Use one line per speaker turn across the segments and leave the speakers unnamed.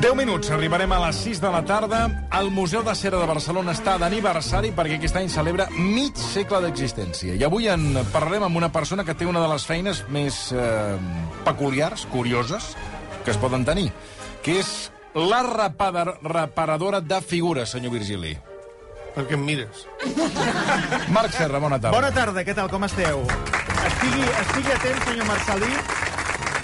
10 minuts, arribarem a les 6 de la tarda. El Museu de Cera de Barcelona està d'aniversari perquè aquest any celebra mig segle d'existència. I avui en parlarem amb una persona que té una de les feines més eh, peculiars, curioses, que es poden tenir, que és la repader- reparadora de figures, senyor Virgili.
Perquè em mires.
Marc Serra, bona tarda.
Bona tarda, què tal, com esteu? Estigui, estigui atent, senyor Marcelí,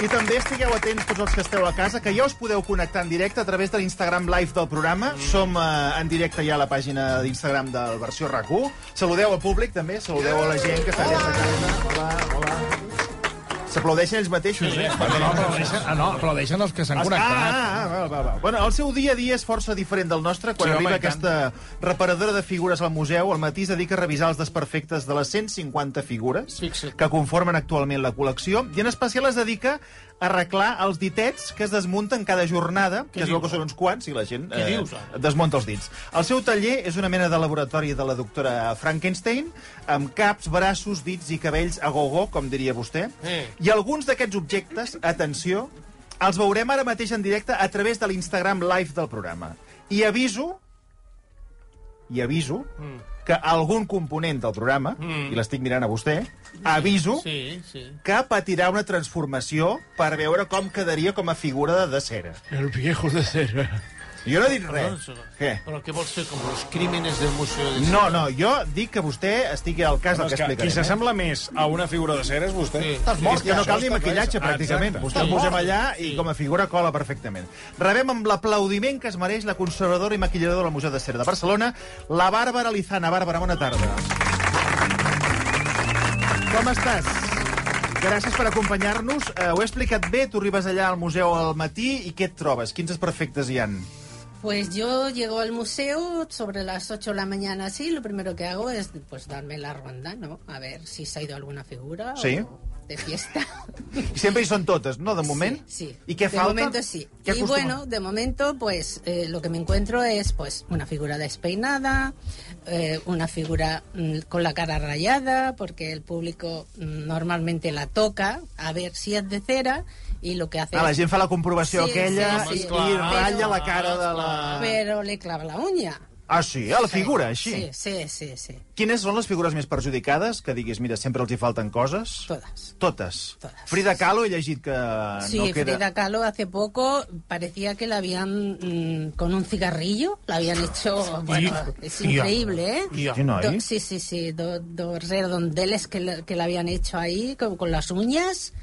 i també estigueu atents tots els que esteu a casa, que ja us podeu connectar en directe a través de l'Instagram Live del programa. Som eh, en directe ja a la pàgina d'Instagram del Versió rac Saludeu al públic, també. Saludeu a la gent que segueix a casa. Hola, hola. S'aplaudeixen ells mateixos, eh?
No, no, aplaudeixen, ah, no, aplaudeixen els que s'han
Ah,
connectat.
ah, ah, val, val, val. Bueno, el seu dia a dia és força diferent del nostre quan
Sí,
sí,
home,
arriba
i tant.
aquesta reparadora de figures al museu. Al matí es dedica a revisar els desperfectes de les 150 figures
Fixa't.
que conformen actualment la col·lecció i en especial es dedica a arreglar els ditets que es desmunten cada jornada, que es veu que són uns quants i la gent eh,
Què dius, ara?
desmunta els dits. El seu taller és una mena de laboratori de la doctora Frankenstein, amb caps, braços, dits i cabells a go-go, com diria vostè.
Eh.
I alguns d'aquests objectes, atenció, els veurem ara mateix en directe a través de l'Instagram Live del programa. I aviso, i aviso,
Mm.
que algun component del programa, i l'estic mirant a vostè, aviso
Sí, sí.
que patirà una transformació per veure com quedaria com a figura de cera.
El viejo de cera.
Jo no he dit
No,
res.
això-
Què?
Però què vols fer, com els crímenes del Museu de
No, no, jo dic que vostè estigui al cas del que
És que
explicarem.
qui
eh?
s'assembla més a una figura de cera és vostè.
Sí.
Estàs mort,
és que no
ja,
cal ni
això està
maquillatge,
clar.
pràcticament.
Exacte.
Vostè el
Està
posem
mort.
allà i com a figura cola perfectament. Rebem amb l'aplaudiment que es mereix la conservadora i maquilladora del Museu de Cera de Barcelona, la Bàrbara Lizana. Bàrbara, bona tarda. Com estàs? Gràcies per acompanyar-nos. Uh, ho he explicat bé, tu arribes allà al museu al matí i què et trobes? Quins perfectes hi han?
Pues yo llego al museo sobre las 8 de la mañana, así. Lo primero que hago es pues darme la ronda, ¿no? A ver si se ha ido alguna figura
Sí.
o de fiesta.
Sempre hi són totes, no?, de moment?
Sí, sí.
I què
de
falta?
momento sí.
Què
y
acostuma-
bueno, de momento, pues eh, lo que me encuentro es pues una figura despeinada, eh, una figura mm, con la cara rayada, porque el público mm, normalmente la toca a ver si es de cera y lo que hace
Ah, la
es-
gent fa la comprovació
Sí,
aquella
sí, sí.
i, i ratlla la cara de la...
pero le clava la uña.
Ah, sí, a la figura, així.
Sí, sí, sí, sí.
Quines són les figures més perjudicades? Que diguis, mira, sempre els hi falten coses.
Todas.
Totes.
Totes.
Frida Kahlo he llegit que Ah,
Sí,
no queda...
Frida Kahlo hace poco parecía que la habían mm, con un cigarrillo, la habían hecho. Bueno, es increíble, ¿eh?
Ja.
Sí, noi?
Do- sí, sí, sí, do- dos redondeles que, le- que la habían hecho ahí con, con las uñas,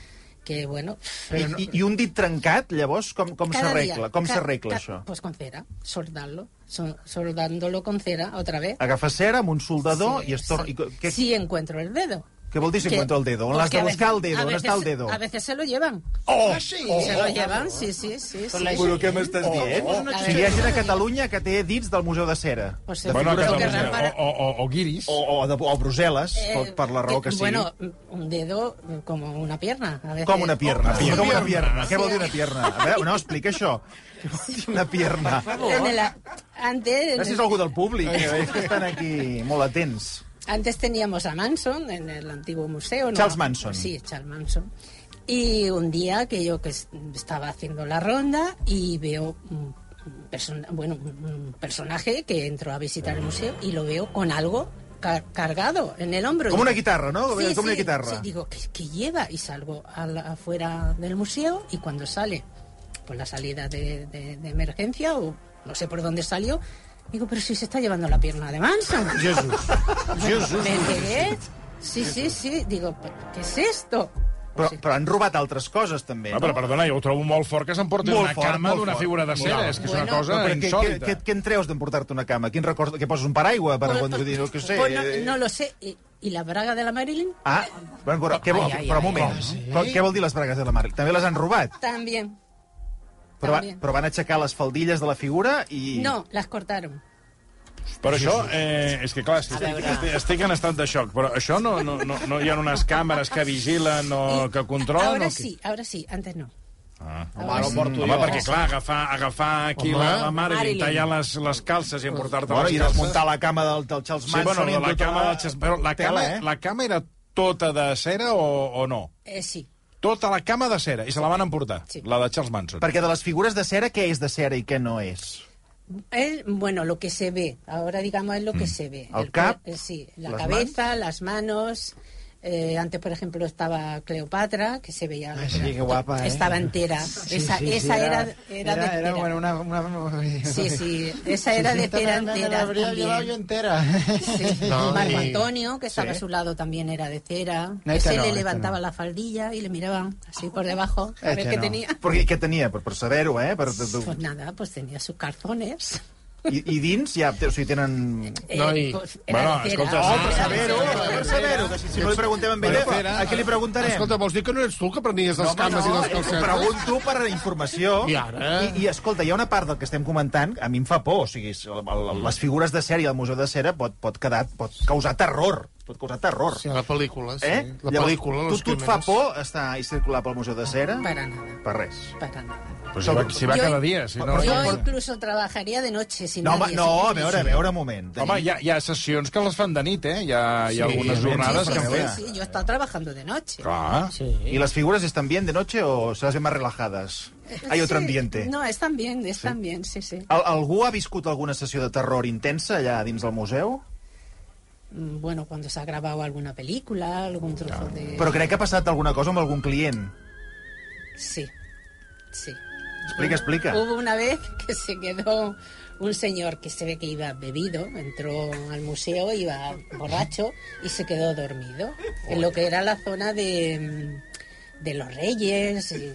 que bueno.
I, i, I un dit trencat, llavors, com, com
cada
s'arregla?
día,
Com
ca-
s'arregla,
ca-
això?
Pues con cera, soldarlo, sol- soldándolo con cera otra vez.
Agafa cera amb un soldador
Sí,
i es torna...
sí.
I, co- què,
Sí encuentro el dedo.
què vol dir si encuentra el dedo? On l'has
porque
de
a
buscar el
veces-
dedo?
a
On està el
veces-
dedo?
A veces se lo llevan.
Oh!
se lo llevan, sí, sí, sí. sí.
Però què m'estàs dient?
A
Si hi ha
veure.
gent a Catalunya que té dits del Museu de Cera.
oh. Pues
de
Bueno, a
Figures
figures del
del
Catalunya,
museu.
Museu.
o, o, o, o guiris.
O, o, de, o a Brussel·les, per, per la raó que sigui.
Eh, Bueno, un dedo mm, como una pierna. A veces.
Com una pierna.
Una
Com una
pierna.
pierna. Què vol dir una pierna? A veure, no, explica això. Què vol dir una pierna?
De la- antes,
Gràcies a algú del públic, eh, que estan aquí molt atents.
antes teníamos a Manson en el antiguo museo. ¿no?
Charles Manson.
Sí, Charles Manson. Y un día que yo que es- estaba haciendo la ronda y veo un, un persona- bueno, un- un personaje que entró a visitar el museo y lo veo con algo car- cargado en el hombro.
Com
Y-
una guitarra, no? Com,
Sí,
com una
sí, sí,
guitarra.
digo, ¿qué, qué lleva? Y salgo a la- afuera del museo y cuando sale por la salida de, de- de emergencia o no sé por dónde salió, digo, pero si se está llevando la pierna de Manson.
Jesús. Jesús.
Me quedé. Sí, sí, sí. Digo, "¿Pero ¿qué es esto?
Però, però han robat altres coses, també,
Ah, però,
no?
perdona, jo ho trobo molt fort que s'emporti
Molt
una
fort,
cama
molt
d'una
fort.
figura de
Molt
cera.
fort.
És que és una
Bueno,
cosa
Però què, què,
insòlita.
què, què en treus d'emportar-te una cama? Quin record, què poses, un paraigua? Per,
Pues,
quan- vull dir, no, que ho sé.
pues no,
eh?
no lo sé. ¿Y, y la braga de la Marilyn?
Ah, bueno, però, què vol,
Ai, ai,
però un
ai,
moment.
ai, sí.
Però Què vol dir les bragues de la Marc? També les han robat.
También.
Però, va,
També.
però van aixecar les faldilles de la figura i...
No, las cortaron.
Però això, eh, és que clar, si estic, estic, estic en estat de xoc, però això no, no, no, no hi ha unes càmeres que vigilen o
Y
Ah, que controlen?
Ahora
o que...
sí, ahora sí. Antes no.
Ah.
Ahora sí.
porto
Home, perquè clar, agafar, agafar aquí la, la Marilyn,
Marilyn.
tallar les, les calces i emportar-te
Bueno,
les
i
calces...
desmuntar la cama del, del Charles
Sí,
Manson...
bueno,
i amb
la
tota
cama, la... Però la
tela,
cama,
eh?
la cama era tota de cera o, o no?
Eh, sí.
Tota la cama de cera. I se la van emportar,
Sí.
la de Charles Manson.
Perquè de les figures de cera, què és de cera i què no és?
El- bueno, lo que se ve, ahora digamos es lo
Mm.
que se ve.
Al
cue-
cap,
eh, sí, la
las
cabeza, las manos. eh, antes, por ejemplo, estaba Cleopatra, que se veía.
Ay, sí, qué guapa, ¿eh?
Estaba entera.
Sí,
esa
sí, sí,
esa era, era, de
era,
cera.
bueno, una, una-
Sí, sí, esa era de
esta
cera
me- me
entera
la habría
también.
llevado yo entera.
Sí.
No,
Marco
sí.
Antonio, que estaba
Sí.
a su lado, también era de cera.
No,
que
esta
se
no,
le
esta
levantaba
no.
la faldilla y le miraba así por debajo a ver
Esta
qué
no.
tenía.
Perquè què tenia? Per, per saber-ho, eh? Per, tu- tu-
Pues nada, pues tenía sus calzones.
i, I dins ja, o sigui, tenen... Oh,
No, y-
pues
bueno,
era de cera.
escolta,
Era
sí,
de
per
cera.
Saber-ho, per saber-ho. que Si, si no li preguntem en
Bueno,
ella,
però-
a qui li preguntarem?
Escolta, vols dir que no ets tu el que prenies les cames i les
Ho
calcetes?
pregunto per informació.
I ara?
I, I, escolta, hi ha una part del que estem comentant, a mi em fa por, o sigui, el- el- les figures de cera i el Museu de Cera pot, pot, quedar, pot causar terror, pot causar terror.
Sí, la pel·lícula, sí.
eh?
La
Llavors,
pel·lícula,
tu,
Los
tu et fa
Crímenes.
por estar i circular pel Museu de Cera?
Para nada,
Per res.
para nada.
Però si va, si va
Jo-
cada dia. Si no,
Yo
no,
incluso trabajaría de noche sin
No, home,
nadie.
no, a
sin-
veure, a veure, un moment.
Home, hi ha, hi ha sessions que les fan de nit, eh? Hi ha, hi ha
Sí,
algunes
sí,
jornades
sí,
que
sí,
han
sí,
fet.
sí, yo he estado trabajando de noche.
Ah.
Clar.
¿Y las figuras están bien de noche o se las ven más relajadas? Hay otro
Sí,
ambiente.
No, están bien, están bien, sí, sí.
Al ¿Algú ha viscut alguna sessió de terror intensa allà dins del museu?
Mm, Bueno, cuando se ha grabado alguna película, algún trozo de...
Però crec que ha passat alguna cosa amb algun client.
Sí, sí.
Explica, explica.
Hubo una vez que se quedó un señor que se ve que iba bebido, entró al museo, iba borracho y se quedó dormido en lo que era la zona de, mm, de los reyes. Y,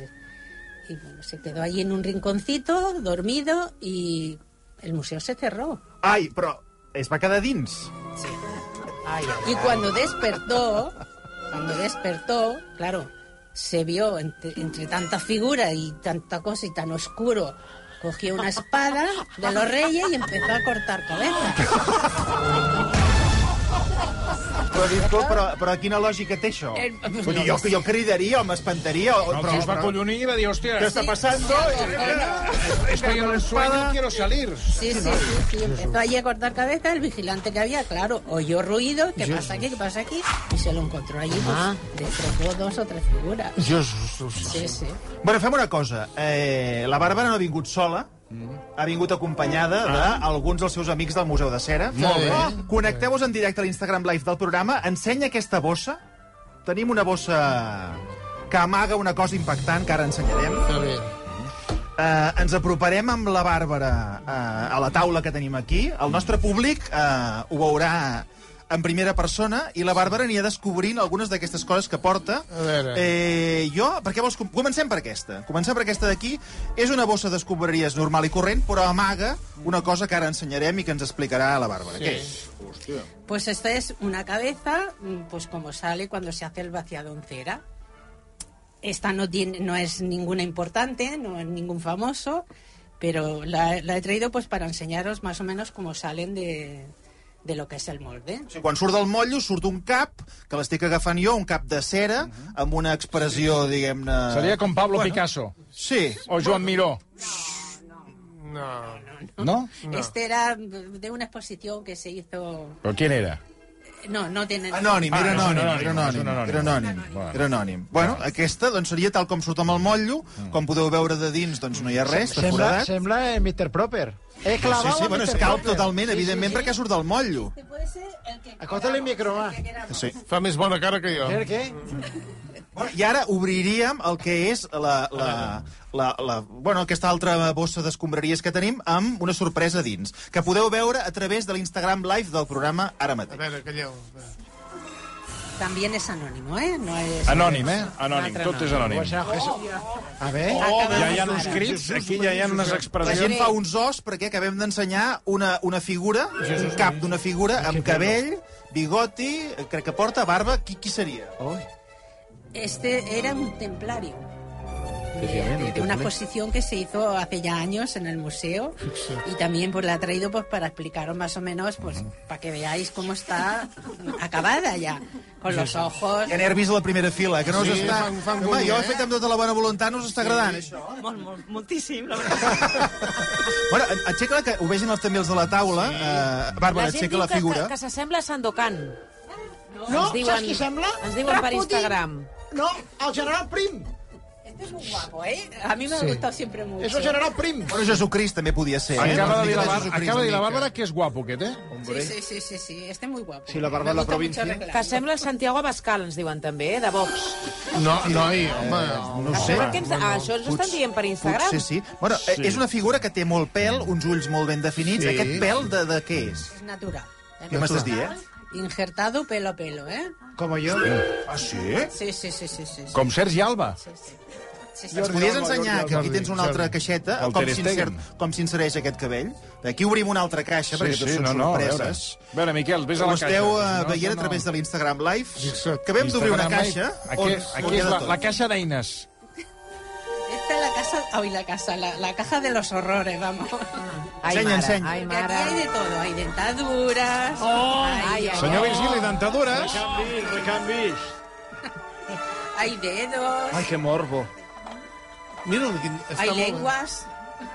y bueno, se quedó allí en un rinconcito, dormido, y el museo se cerró.
Ai, però es va quedar dins.
Sí. Y cuando despertó, cuando despertó, claro, se vio entre, entre tanta figura y tanta cosa y tan oscuro, cogió una espada de los reyes y empezó a cortar cabezas.
Però, disculpa, però, però quina lògica té això?
Eh,
Vull dir, jo, jo cridaria o m'espantaria. O,
No, el
però,
tio es va
però,
collonir i va dir, hòstia,
què està passant?
estoy en el sueño, quiero salir.
Sí, sí, sí, sí, empezó allí a cortar cabezas, el vigilante que había, claro, oyó ruido, ¿qué pasa aquí? ¿Qué pasa aquí? Y se lo encontró allí, pues, destrozó dos o tres figuras. Sí, sí.
Bueno, fem una cosa. Eh, la Bàrbara no ha vingut sola,
Mm.
ha vingut acompanyada d'alguns dels seus amics del Museu de Cera.
Ah. Molt bé.
Oh, Connecteu-vos en directe a l'Instagram Live del programa. Ensenya aquesta bossa. Tenim una bossa que amaga una cosa impactant que ara ensenyarem.
Està bé.
Eh, ens aproparem amb la Bàrbara eh, a la taula que tenim aquí. El nostre públic eh, ho veurà en primera persona i la Bàrbara anirà descobrint algunes d'aquestes coses que porta.
A veure.
Eh, jo, per què vols... com- Comencem per aquesta. Comencem per aquesta d'aquí. És una bossa d'escombraries normal i corrent, però amaga una cosa que ara ensenyarem i que ens explicarà la Bàrbara. Què és?
Pues esta es una cabeza, mm, pues como sale cuando se hace el vaciado en cera. Esta no, tiene, no es ninguna importante, no es ningún famoso, pero la, la he traído pues para enseñaros más o menos cómo salen de, de lo que es el molde.
O sigui, quan surt del motllo, surt un cap, que l'estic agafant jo, un cap de cera, amb una expressió, diguem-ne...
Seria com Pablo Picasso
Sí,
o Joan Miró,
No.
no?
Este era de una exposición que se hizo...
Però quin era?
No, no tiene...
Anònim,
Ah,
era
és un anònim,
anònim, era
és un
anònim,
anònim.
era anònim,
Bueno.
era anònim. Bueno, aquesta doncs, seria tal com surt amb el motllo, com podeu veure de dins, doncs no hi ha res, està
Sembla,
foradat.
sembla eh, Mr. Proper.
Pues
He
Sí,
clavado
sí,
a
bueno,
Mr.
es calp
Proper.
totalment, evidentment,
sí.
perquè surt del motllo.
Este puede ser el que...
Acóstale el micro más.
el que queramos.
Sí.
Fa més bona cara que jo.
Per què?
Bueno, I ara obriríem el que és la, la, la, la, bueno, aquesta altra bossa d'escombraries que tenim amb una sorpresa a dins, que podeu veure a través de l'Instagram Live del programa ara
A
mateix.
veure, calleu.
También es anónimo, ¿eh? No es...
Anònim, eh?
Un
Anònim,
altre
tot és
O
anònim.
sea, Pues
Oh,
Jesús- A ver,
Oh,
Acaba
ja
de
hi ha uns
parar.
crits, aquí ja hi ha unes
La
expressions.
gent fa uns os perquè acabem d'ensenyar una, una figura, un cap d'una figura, amb cabell, bigoti, eh, crec que porta barba. Qui, qui seria?
Oh.
Este era un templario. De, de- de una exposición que se hizo hace ya años en el museo y también pues la he traído pues para explicaros más o menos pues para que veáis cómo está acabada ya con los ojos
Hi ha nervis a la primera fila, eh, que no us
Sí,
està...
fan- fan
Home,
bullir,
jo ho he
eh?
fet amb tota la bona voluntat, no us està agradant, això?
Mol- mol- moltíssim, la veritat.
Bueno, en- aixeca-la, que ho vegin els, també els de la taula. Eh, Bàrbara,
La gent
aixeca
diu
la
que, que,
figura.
que s'assembla a Sandokan.
No, saps qui sembla?
Ens diuen per Instagram.
no, el general Prim.
Este es un guapo, ¿eh? A mí me ha gustado siempre mucho.
És el general Prim.
Bueno, Jesucrist també podia ser. eh?
Acaba
Una
de dir
mica
la, Bar-
Jesucrist,
acaba de dir la
una mica.
Bàrbara que és guapo, aquest, eh?
Sí, sí, sí, sí, sí, este muy guapo.
Sí, la barba
Me
de la
gusta mucho
província.
arreglar.
Que sembla el Santiago Abascal, ens diuen també, eh, de Vox.
No, noi, home, no ho
A
sé.
veure què ens... ah, això ens ho estan dient per Instagram.
Potser sí. Bueno, sí. és una figura que té molt pèl, uns ulls molt ben definits.
Sí.
Sí. Aquest pèl de, de què és?
Es natural.
Què m'estàs dient, eh?
Injertado pelo a pelo, ¿eh?
Com jo.
Ah,
¿Eh?
sí?
Sí, sí, sí, sí, sí. sí.
Com Sergi Alba.
Sí, sí. Sí, sí.
Ens podries ensenyar, que aquí tens una altra caixeta,
El
com
Ter
s'inser-
Stegen.
com s'insereix aquest cabell. Aquí obrim una altra caixa, perquè tot són
a veure.
sorpreses.
A veure, Miquel, vés a
Ho
la caixa.
esteu eh, veient a través de l'Instagram Live, que vam d'obrir una caixa...
eh? Aquí, aquí és la, la caixa d'eines.
Esta es la casa, hoy la casa, la, la caja de los horrores, vamos.
Ai,
Ensenya,
mare,
ensenya.
ai,
Porque aquí
mare.
hay de todo, hay dentaduras.
Ai,
Oh,
hay,
ai,
Senyor Virgili, dentadures.
Recanvis, recanvis.
hay dedos,
Ai, que morbo.
Mira, quin- està
hay
molt bé.
lenguas.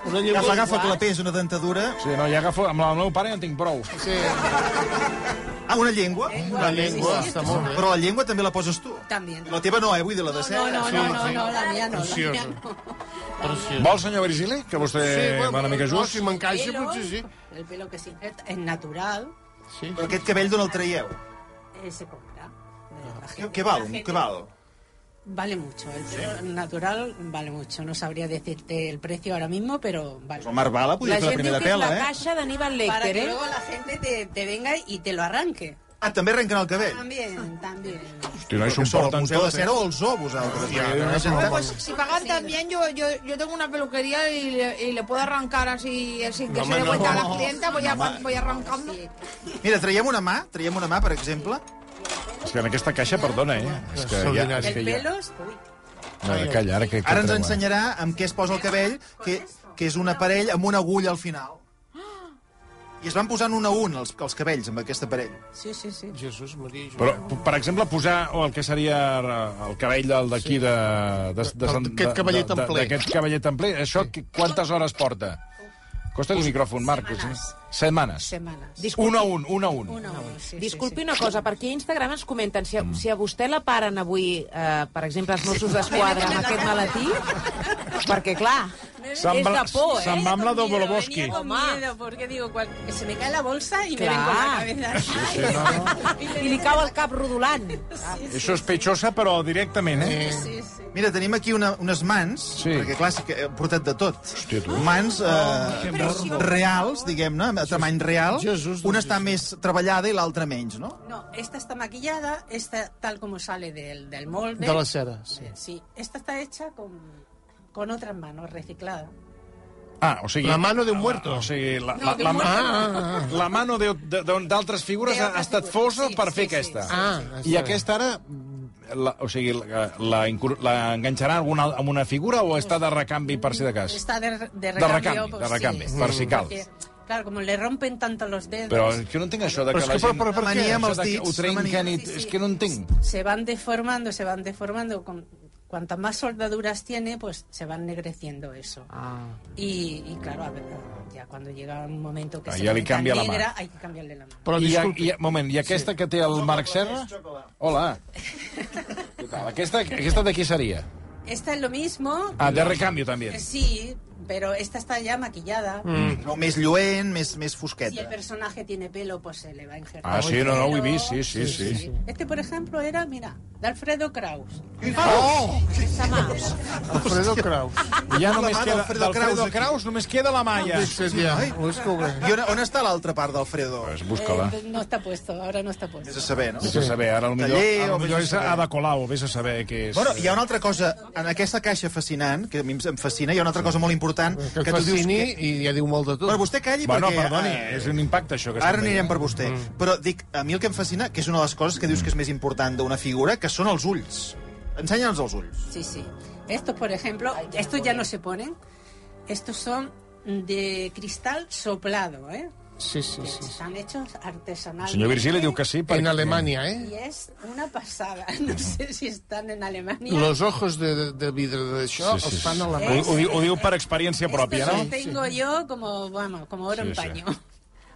Una
Ja
llengua...
s'agafa clapés, una dentadura...
Sí, no, ja agafo... Amb el meu pare ja en tinc prou.
Sí,
Ah, una llengua?
la llengua està molt bé.
Però la llengua també la poses tu.
También.
La teva no, eh? Vull dir la de cera.
No, no, no, no, no, no, la mía no, la mía
Preciosa.
no.
Preciosa.
Vol, senyor Virgili, que vostè
bueno,
va una mica
no,
just?
si m'encaixa,
Pelo,
potser sí.
El pelo que se injerta es natural,
sí.
Però aquest cabell d'on el traieu?
eh, se compra. La
Què,
gente-
què val?
la gente-
Què val?
Vale mucho, el pelo natural vale mucho. No sabría decirte el precio ahora mismo, pero vale.
Pues el Marc Bala
La
podria fer la
gent diu
primera
que és
pela,
la
eh?
caixa d'Aníbal
Para
Lecter,
que
eh?
luego la gente te, te venga y te lo arranque.
Ah, també arrenquen el cabell.
También, también.
Hosti, no hi
Que sou el
suporten
Museu de
tot, eh?
Cera o el zoo, vosaltres?
Ja,
Perquè
no,
no sé,
no,
tampoc-
Si pagan también, yo, yo, yo tengo una peluquería y le, y le puedo arrancar así, sin que
No,
se dé
hombre,
cuenta
no.
a la clienta, voy, a, voy arrancando.
Mira, traiem una mà, traiem una mà, per exemple.
És que en aquesta caixa, perdona, eh? És que ja...
Extraordinari.
És
El
que ja...
pelo, es- uy,
No, calla, ara que... que
Ara ens
treuen.
ensenyarà amb què es posa el cabell, que, que és un aparell amb una agulla al final. I es van posant un a un els, els cabells amb aquest aparell.
sí, sí, sí.
Jesús, Maria i Joan.
Però, p- per exemple, posar o el que seria eh, el cabell del d'aquí de... de, de,
Del-
Sant- de,
d'aquest cavallet
de- de-
templer.
D'aquest cavallet templer. Això qui- quantes hores porta? Costa el micròfon, Marcos. Eh? Setmanes.
Semanas.
Un a un, un a un.
Uno, uno, sí, sí,
Disculpi una cosa, per aquí a Instagram ens comenten si a,
Mm.
si a vostè la paren avui, eh, per exemple, els Mossos d'Esquadra amb aquest maletí, perquè, clar, és
Se'n va-
de por,
se'n
eh?
va amb la Dobrovolsky.
Venía con
Home.
miedo, porque digo, cual- que se me cae la bolsa y
Claro.
me ven con la cabeza.
I li cau el cap rodolant.
És sospechosa, però directament, eh?
Sí, sí.
Mira, tenim aquí una, unes mans,
Sí.
sí. perquè clar, sí que he portat de tot. Hòstia,
tu.
Mans eh, reals, diguem-ne, a tamany real.
Jesús,
Una està més treballada i l'altra menys, no?
No, esta está maquillada, esta tal como sale del, del molde.
De la cera, sí.
Sí, esta está hecha con, con otras manos, reciclada.
Ah, o sigui...
La mano Ah, de un muerto.
O sigui, la,
No,
la,
de
la,
un
la, la mano de- de- de- d'altres figures
De
ha, ha
altres
estat
figures,
fosa
sí,
per
sí,
fer
sí,
aquesta.
sí,
Ah,
I aquesta ara... mm, La, o sigui, la, la, incor- la enganxarà alguna, amb una figura o està de recanvi per si de cas?
Está de, de
De
recambio.
recanvi, de
pues,
recanvi,
sí,
per
sí,
si cal.
porque, claro, como le rompen tanto los dedos,
Però és que no entenc això de
Però
que
és
la
que per-
gent...
per- per
La
què?
mania amb
Això
els
de que ho
dits. la mania.
trenquen i...
Sí, sí.
És que no entenc.
se van deformando, se van deformando. Con, cuantas más soldaduras tiene, pues se va ennegreciendo eso.
Ah.
Y, y claro, a ver, ya cuando llega un momento que
Ah,
se
ya
pone
le
tan
cambia la
negra,
mano.
hay que cambiarle la mano.
Però
I, a,
disculpi,
i, moment, i aquesta que té el Marc Serra? Hola. Què tal? Aquesta, aquesta de qui seria?
Esta es lo mismo,
Ah, de recambio, també.
eh, sí, pero esta está ya maquillada.
Mm.
No, més lluent, més, més
Si el
fosqueta.
personaje tiene pelo, pues se le va a injertar.
Ah, sí, no, no, ho he vist, sí, sí,
Pero-
sí. sí.
Este, por ejemplo, era, mira, de Alfredo Kraus.
Oh!
Alfredo Kraus.
Ja
La
només
mà
queda...
d'Alfredo Kraus,
D'Alfredo
aquí.
Kraus només queda la malla.
Fixa't ja, busca-ho bé.
I on, on està l'altra part d'Alfredo?
Pues busca-la.
Eh, no está puesto, ahora no está puesto.
Vés a saber, no?
Vés a saber, ara potser,
Taller,
ara
o
potser
vés a
és
saber.
Ada Colau, vés a saber què és.
Bueno, hi ha una altra cosa, en aquesta caixa fascinant, que a mi em- em fascina, hi ha una altra cosa molt important,
Que
que
et
tu dius
fascini
que...
i ja diu molt de tot.
Però vostè calli
Bueno,
perquè...
perdoni,
eh,
és un impacte, això. Que
Ara anirem per vostè. Mm. Però dic, a mi el que em fascina, que és una de les coses que dius que és més important d'una figura, que són els ulls. Ensenya'ns els ulls.
Sí, sí. Estos, por ejemplo, estos ya no se ponen. Estos son de cristal soplado, ¿eh?
Sí, sí,
Que
sí.
Están hechos
El
artesanalmente.
senyor Virgili diu que sí. perquè-
En Alemanya, eh?
Y es una pasada. No sé si están en Alemania.
Los ojos de, de, de vidre d'això
Sí, sí,
els fan
sí.
a la mà.
Ho, ho, diu, ho diu per experiència pròpia,
Estos
no?
los tengo yo como, vamos, como oro
Sí,
en
sí.
paño.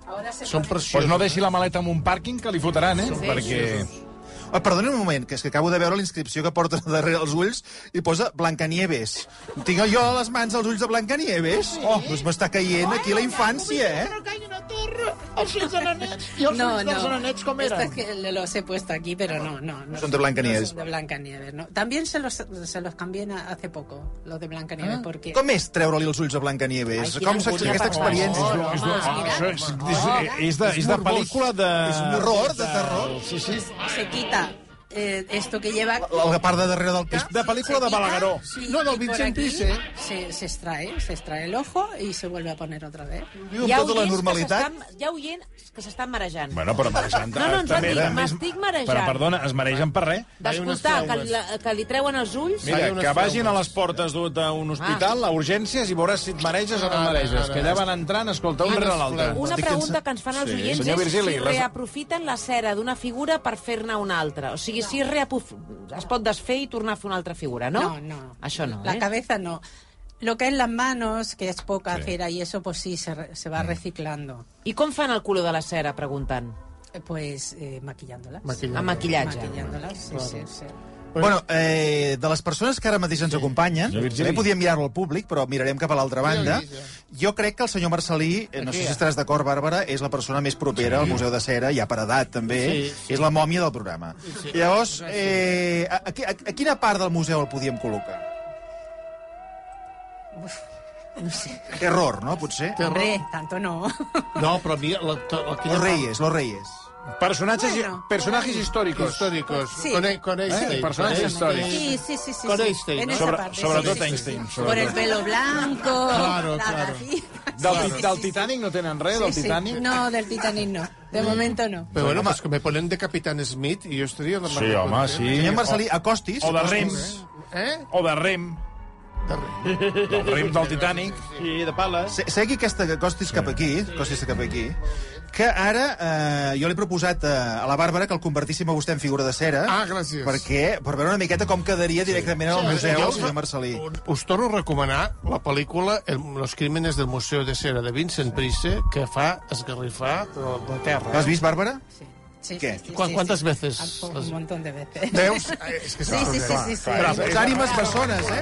Ahora se
Són
ponen-
Pues
Doncs
preciosos.
no deixi la maleta en un pàrquing, que li fotran, eh? Perquè...
O Ah, Perdoni un moment, que és que acabo de veure la inscripció que porta darrere els ulls i posa Blancanieves. Tinc jo a les mans els ulls de Blancanieves? Oh, doncs m'està caient aquí la infància, eh?
Però que hi ha una torre, els fills de la net, i els
No,
fills dels nanets com
Esto
eren?
es que le- los he puesto aquí, pero no, no. no
Son de Blancanieves.
no son de Blancanieves, no. También se los, se los cambié na- hace poco, los de Blancanieves, porque...
Com és treure-li els ulls a Blancanieves?
Ai, quina
Com s'ha
angúnia,
aquesta
per favor.
experiència?
Oh,
És, de, ah, això és, és, és, de, és de
morbós.
pel·lícula de...
És un horror, de terror.
Sí, sí.
Se quita eh, esto que lleva...
La part de darrere del
És
cap?
de pel·lícula de Balagueró.
Sí,
No, del
y por
Vincent
aquí
Price.
Se, se extrae, se extrae el ojo y se vuelve a poner otra vez.
Diu amb tota la
oients que
normalitat.
s'estan- Hi ha oients que s'estan marejant.
Bueno, però marejant...
No, no, ens
també
van
també
dir,
és-
"M'estic marejant".
Però, perdona, es maregen per res.
D'escoltar que, la- que li treuen els ulls...
Mira,
Hay unes
que vagin a
traumes.
les portes d'un d'un
Ah.
hospital, a urgències, i veuràs si et mareges o no et mareges. Que allà van entrant, escolta, un
Unes
rere l'altre.
traumes.
Ah, Una
Estic
pregunta
cansat.
que ens fan els
Sí.
oients
Senyor
és
Virgili,
si
les-
reaprofiten la cera d'una figura per fer-ne una altra. O sigui, si es, reaprof... es pot desfer i tornar a fer una altra figura, no?
No, no.
Això no,
La
eh?
cabeza no. Lo que es las manos, que es poca
Sí.
cera y eso, pues sí, se, re- se va reciclando.
I com fan el color de la cera, preguntant?
Eh, Pues eh, maquillándolas.
Maquillant.
Amb maquillatge.
Maquillándolas, sí, sí, sí.
Bueno, eh, de les persones que ara mateix ens acompanyen,
Senyor Virgili.
també podíem mirar-ho al públic, però mirarem cap a l'altra banda.
sí,
Jo crec que el senyor Marcelí, eh, no sé si estaràs d'acord, Bàrbara, és la persona més propera al Museu de Cera, ja per edat també, és la mòmia del programa. Llavors, eh, a, a, a, a quina part del museu el podíem col·locar? Terror, no, potser?
Hombre, tanto no.
No, però mira... La, la, la,
Los Reyes, Los Reyes.
Personatges,
Bueno.
personatges històrics.
Históricos.
Sí.
Con, con Einstein.
Eh, personatges
Con Einstein.
històrics.
Sí, sí, sí, sí.
Con
sí.
Einstein,
En
¿no?
esa
Sobre-
parte,
sobretot
sí, sí, sí.
Einstein,
Por
sobretot.
el pelo blanco,
Claro,
la
claro.
Del,
nariz. Sí,
sí,
sí,
del
sí,
Titanic no tenen res,
sí,
del
sí.
Titanic?
No, del Titanic no. De momento no.
Però bueno, pues que me ponen de Capitán Smith i jo estaria la mar de content.
Senyor Marcelí, acostis.
O de
acostis.
Rems.
Eh?
O de Rem. Del Rem del Titanic.
I de pales.
Se- Segui aquesta que costis cap aquí, costis cap aquí, que ara eh, jo li he proposat eh, a la Bàrbara que el convertíssim a vostè en figura de cera.
Ah, gràcies.
Perquè, per veure una miqueta com quedaria directament al museu,
Jo
el
us-
senyor Marcelí.
Us torno a recomanar la pel·lícula El- Los crímenes del Museu de Cera de Vincent Price, que fa esgarrifar la la terra.
L'has vist, Bàrbara?
Sí. Sí,
¿Qué?
sí, sí,
¿Cuán-
sí,
cuántas
sí.
veces
Ah, pues,
las-
Un montón de veces.
Veus? Eh, És que
Sí, sí, sí, sí, sí.
Dos ànimes bessones, eh?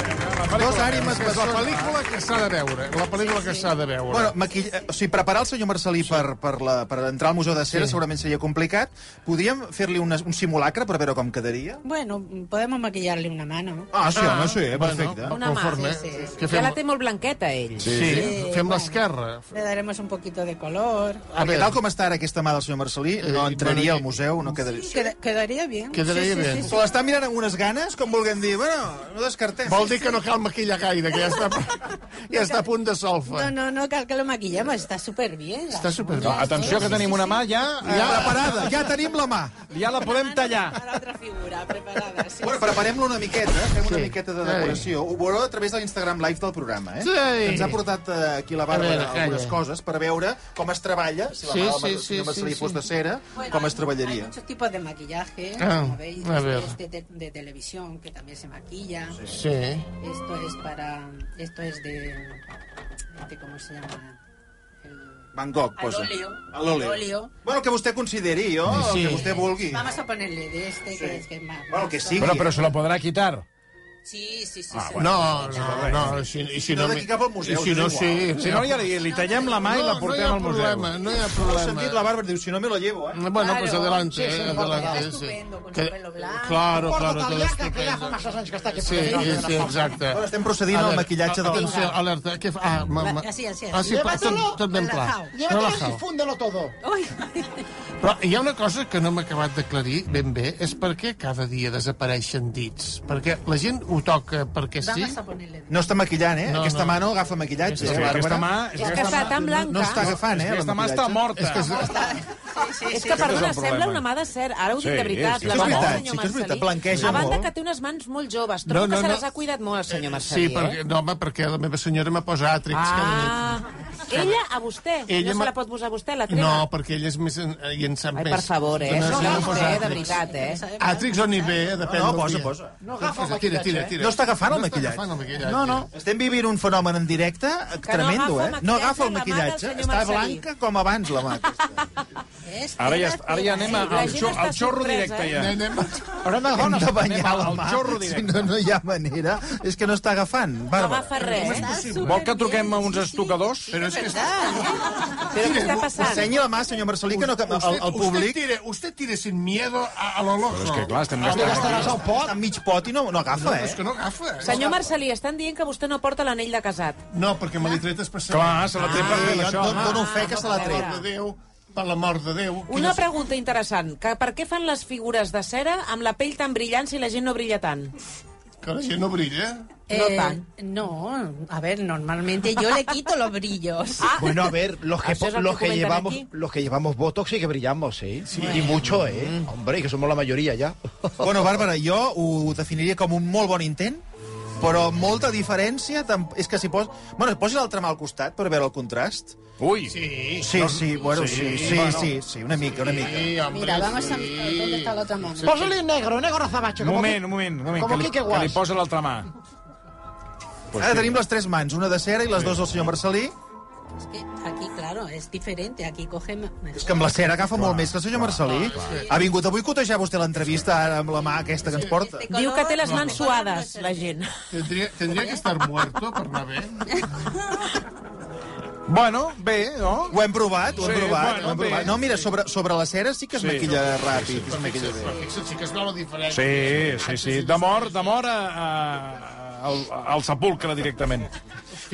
Dos ànimes
És la
bessones.
pel·lícula que s'ha de veure, la pel·lícula que s'ha de veure.
Bueno, maquill... eh, o sigui, preparar el senyor Marcelí per, per, la, per entrar al Museu de Cera segurament seria complicat. Podríem fer-li una- un simulacre per veure com quedaria?
Bueno, podemos maquillarle una mano.
Ah, sí, home, sí, perfecte.
Una mà,
Conforme.
sí, sí.
Què
Ja
fem?
la té molt blanqueta, ell.
Sí,
Sí,
fem
bueno.
l'esquerra.
Le daremos un poquito de color.
A
Perquè tal com està ara aquesta mà del senyor Marcelí, no entraria al museu, no quedaria...
Queda- quedaría bien.
Quedaria
Sí, sí,
bé.
sí, sí.
Se l'està mirant amb unes ganes, com vulguem dir, bueno, no descartem.
Vol dir que no cal maquillar gaire, que ja està, ja està a punt de solfa.
No, no, no, cal que lo maquillemos, está súper bien.
Està super
No, Ah, atenció, que tenim una mà ja...
Ja Eh, preparada, ja tenim la mà.
Ja la podem tallar.
Para otra figura, preparada, sí.
Bueno, preparem-la una miqueta, eh? fem una
Sí.
miqueta de decoració. Ho veureu a través de l'Instagram Live del programa, eh?
Sí.
Que Ens ha portat eh, aquí la
A
Bàrbara
veure, calla.
algunes coses per veure com es treballa, si la
Sí,
mà del
sí,
Mar-
sí,
senyor Marcelí
sí,
fos
sí.
de cera,
Bueno,
com
hay-
es treballaria.
Hay muchos tipos de maquillaje,
Ah,
como veis,
a
este
ver.
es de, de- de televisión, que también se maquilla.
Sí.
Esto es para... Esto es de... de ¿Cómo se llama? El-
Van Gogh,
Al
posa.
óleo.
A l'òleo.
Al óleo.
Bueno, el que vostè consideri, jo, el
Sí.
que vostè vulgui.
Vamos a ponerle de este, que es que es más...
Bueno, el que sigui.
Bueno, però se la podrà quitar.
Sí, sí,
Ah,
sí. sí.
Ah, No, no, no, i si, i si
No
no...
d'aquí cap al museu,
I si no,
és
sí.
igual.
Si no, ja li, li tallem la mà i la portem al
No hi ha
museu.
problema, no hi ha
No he sentit la
problema.
Bàrbara, diu, si no me lo llevo, eh?
Bueno, pues
Claro.
adelante,
Sí, sí,
eh,
porque
adelante.
está
sí.
estupendo, con su
Que-
pelo blanco.
Claro,
Porto
claro, todo
italiaca,
este
que ja fa
estupendo.
masses anys que està aquí.
Sí, sí, exacte.
Bueno, estem procedint al maquillatge de la
atenció,
Bàrbara.
alerta. Què fa? Ah, ma, ma...
Así, así, así.
Ah, sí, pa- tot,
Llévatelo,
tot ben pla.
relajao.
Llévatelo y
Relajao.
fúndelo todo.
Uy.
Però hi ha una cosa que no m'ha acabat d'aclarir ben bé, és per què cada dia desapareixen dits. Perquè la gent ho toca perquè sí.
Vamos a ponerle de
No està maquillant, eh?
No,
aquesta
no.
mà no agafa maquillatge, eh,
És que
Bàrbara.
aquesta mà... És
És
que
que està tan blanca.
No està agafant, eh? el
aquesta mà està
maquillatge.
morta.
És que és...
És que,
Aquest és
perdona,
el
sembla
problema.
una mà de cera. Ara ho dic
Sí,
de veritat.
sí,
la
sí,
mà
és
del
veritat,
senyor
sí que és veritat,
Marcelí.
blanqueja
A banda
molt.
que té unes mans molt joves. Trobo
No, no,
que se
no. Eh,
les ha cuidat molt, el senyor eh? Marcelí.
Sí, perquè, no, home, perquè la meva senyora me posa àtrics cada nit.
Ah, ella a vostè.
Ella
no
ma-
se la pot posar a vostè, la treva.
No, perquè ell és més... en- I en sap
Ai,
més.
per favor,
No,
eh?
no,
No, no,
no,
no,
no,
de veritat, eh?
Àtrics o nivell, eh? depèn
No,
del
posa,
dia.
posa.
No agafa el
Tira,
maquillatge,
tira,
eh?
tira.
No està agafant el maquillatge.
No està agafant el maquillatge.
No, no. Estem vivint un fenomen en directe eh,
Que no
tremendo,
agafa
eh? No agafa el
maquillatge la mà del
maquillatge.
senyor
Està
Marcelí.
blanca com abans, la mà. aquesta.
Ves,
Ara ja,
queda
ara ja
tot,
anem
eh?
a-
La
al,
gent
xor,
està
al xorro
sorpresa,
directe,
eh?
ja.
Anem a...
Haurem de banyar la
al
mà.
xorro
Si
directe.
no, no hi ha manera. És que no està agafant.
No
Bàrbara.
agafa res, eh?
Vol que truquem a uns estocadors?
Però és que...
Però què està passant?
Ensenyi la mà, senyor Marcelí, que no... que El, el
Usted
públic
tire, usted tire sin miedo a, a lo loco.
Però és que, clar, estem
Home,
gastant...
gastaràs el pot? Està mig pot i no, no agafa,
És que
eh?
no agafa.
Senyor Marcelí, estan dient que vostè no porta l'anell de casat.
No, perquè me l'he tret especialment.
Clar, se la té per fer
Ah, jo
això.
em dono fe que se l'ha
Per
tret.
l'amor de Déu, per l'amor de Déu.
Una
Quines-
pregunta interessant. Que per què fan les figures de cera amb la pell tan brillant si la gent no brilla tant?
Que la gent no brilla.
No tant.
Eh, No, a ver, normalmente yo le quito los brillos.
Ah,
Bueno, a ver, los que,
Eso es lo
los
que
que,
comentan
llevamos,
aquí.
los que llevamos Botox sí que brillamos, ¿eh? Y mucho,
Mm.
¿eh? Hombre, y que somos la mayoría ya.
Bueno, Bàrbara, jo ho definiria com un molt bon intent, però amb molta diferència... Tamp... És que si pos... Bueno, posi l'altra mà al costat per veure el contrast.
Ui,
Sí.
Sí, sí, bueno, sí, sí,
bueno.
sí, sí, una mica, una mica.
Sí, hombre,
Mira, vamos a
sí.
mirar dónde está la otra mano.
Pósale negro, negro azabache.
un
como
moment,
que-
un moment. Un moment
Com
que, li,
aquí, que
que li
guas.
posa l'altra mà. Pues
Ara tenim les tres mans, una de cera i les dues del senyor Marcelí.
Es que aquí, claro, es diferente. Aquí coge... me-
És que amb la cera agafa molt més que el senyor Marcelí. Ha vingut a boicotejar vostè l'entrevista ara amb la mà aquesta que ens porta.
Este
Diu
color-
que té les mans
este color no
suades,
serveix.
la gent.
Tendría, tendría que estar muerto per anar bé.
Bueno, bé, no?
Ho hem provat, ho hem
Sí,
provat.
bueno,
ho hem
bé.
provat. No, mira, sobre, sobre la cera sí que es
Sí.
maquilla ràpid. es maquilla
Fixa't,
bé.
però fixa't, sí que es veu la diferència.
Sí, sí, sí. De mort, de mort a, a, al, al sepulcre directament.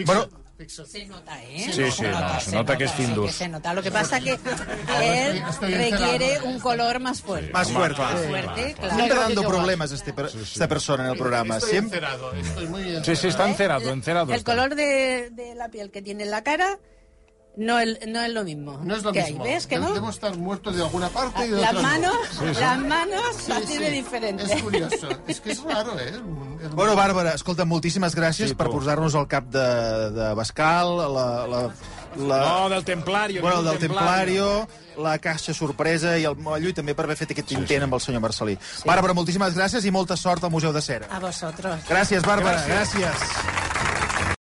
Bueno,
Se nota, ¿eh?
Sí, sí, no, se nota que es
sí
Findus.
que se nota. Lo que pasa que él
estoy
requiere
enterado.
un color más fuerte.
Más fuerte.
fuerte,
Siempre
claro.
dando problemas a este per- esta persona en el programa.
Estoy
Siempre.
encerado, estoy muy encerado.
Sí, sí, està encerado, encerado.
El color de, de la piel que tiene en la cara no, el- no es lo mismo.
No es lo
que
mismo.
Hay. ¿Ves que no? Ah,
Debo estar muerto de alguna parte y de
Las
otra no.
manos, las manos las
Sí,
tiene
sí.
diferentes.
Es curioso. Es que es raro, ¿eh? El-
Bueno, Bàrbara, escolta, moltíssimes gràcies
Sí,
sí,
tu.
per posar-nos al cap de, de Bascal, la... la, la
No, del Templario.
Bueno,
que
el
és
del
un templario.
Templario, la caixa sorpresa i el Mollo, i també per haver fet aquest intent amb el senyor Marcelí. Bàrbara, moltíssimes gràcies i molta sort al Museu de Cera.
A vosotros.
Gràcies, Bàrbara, gràcies. gràcies.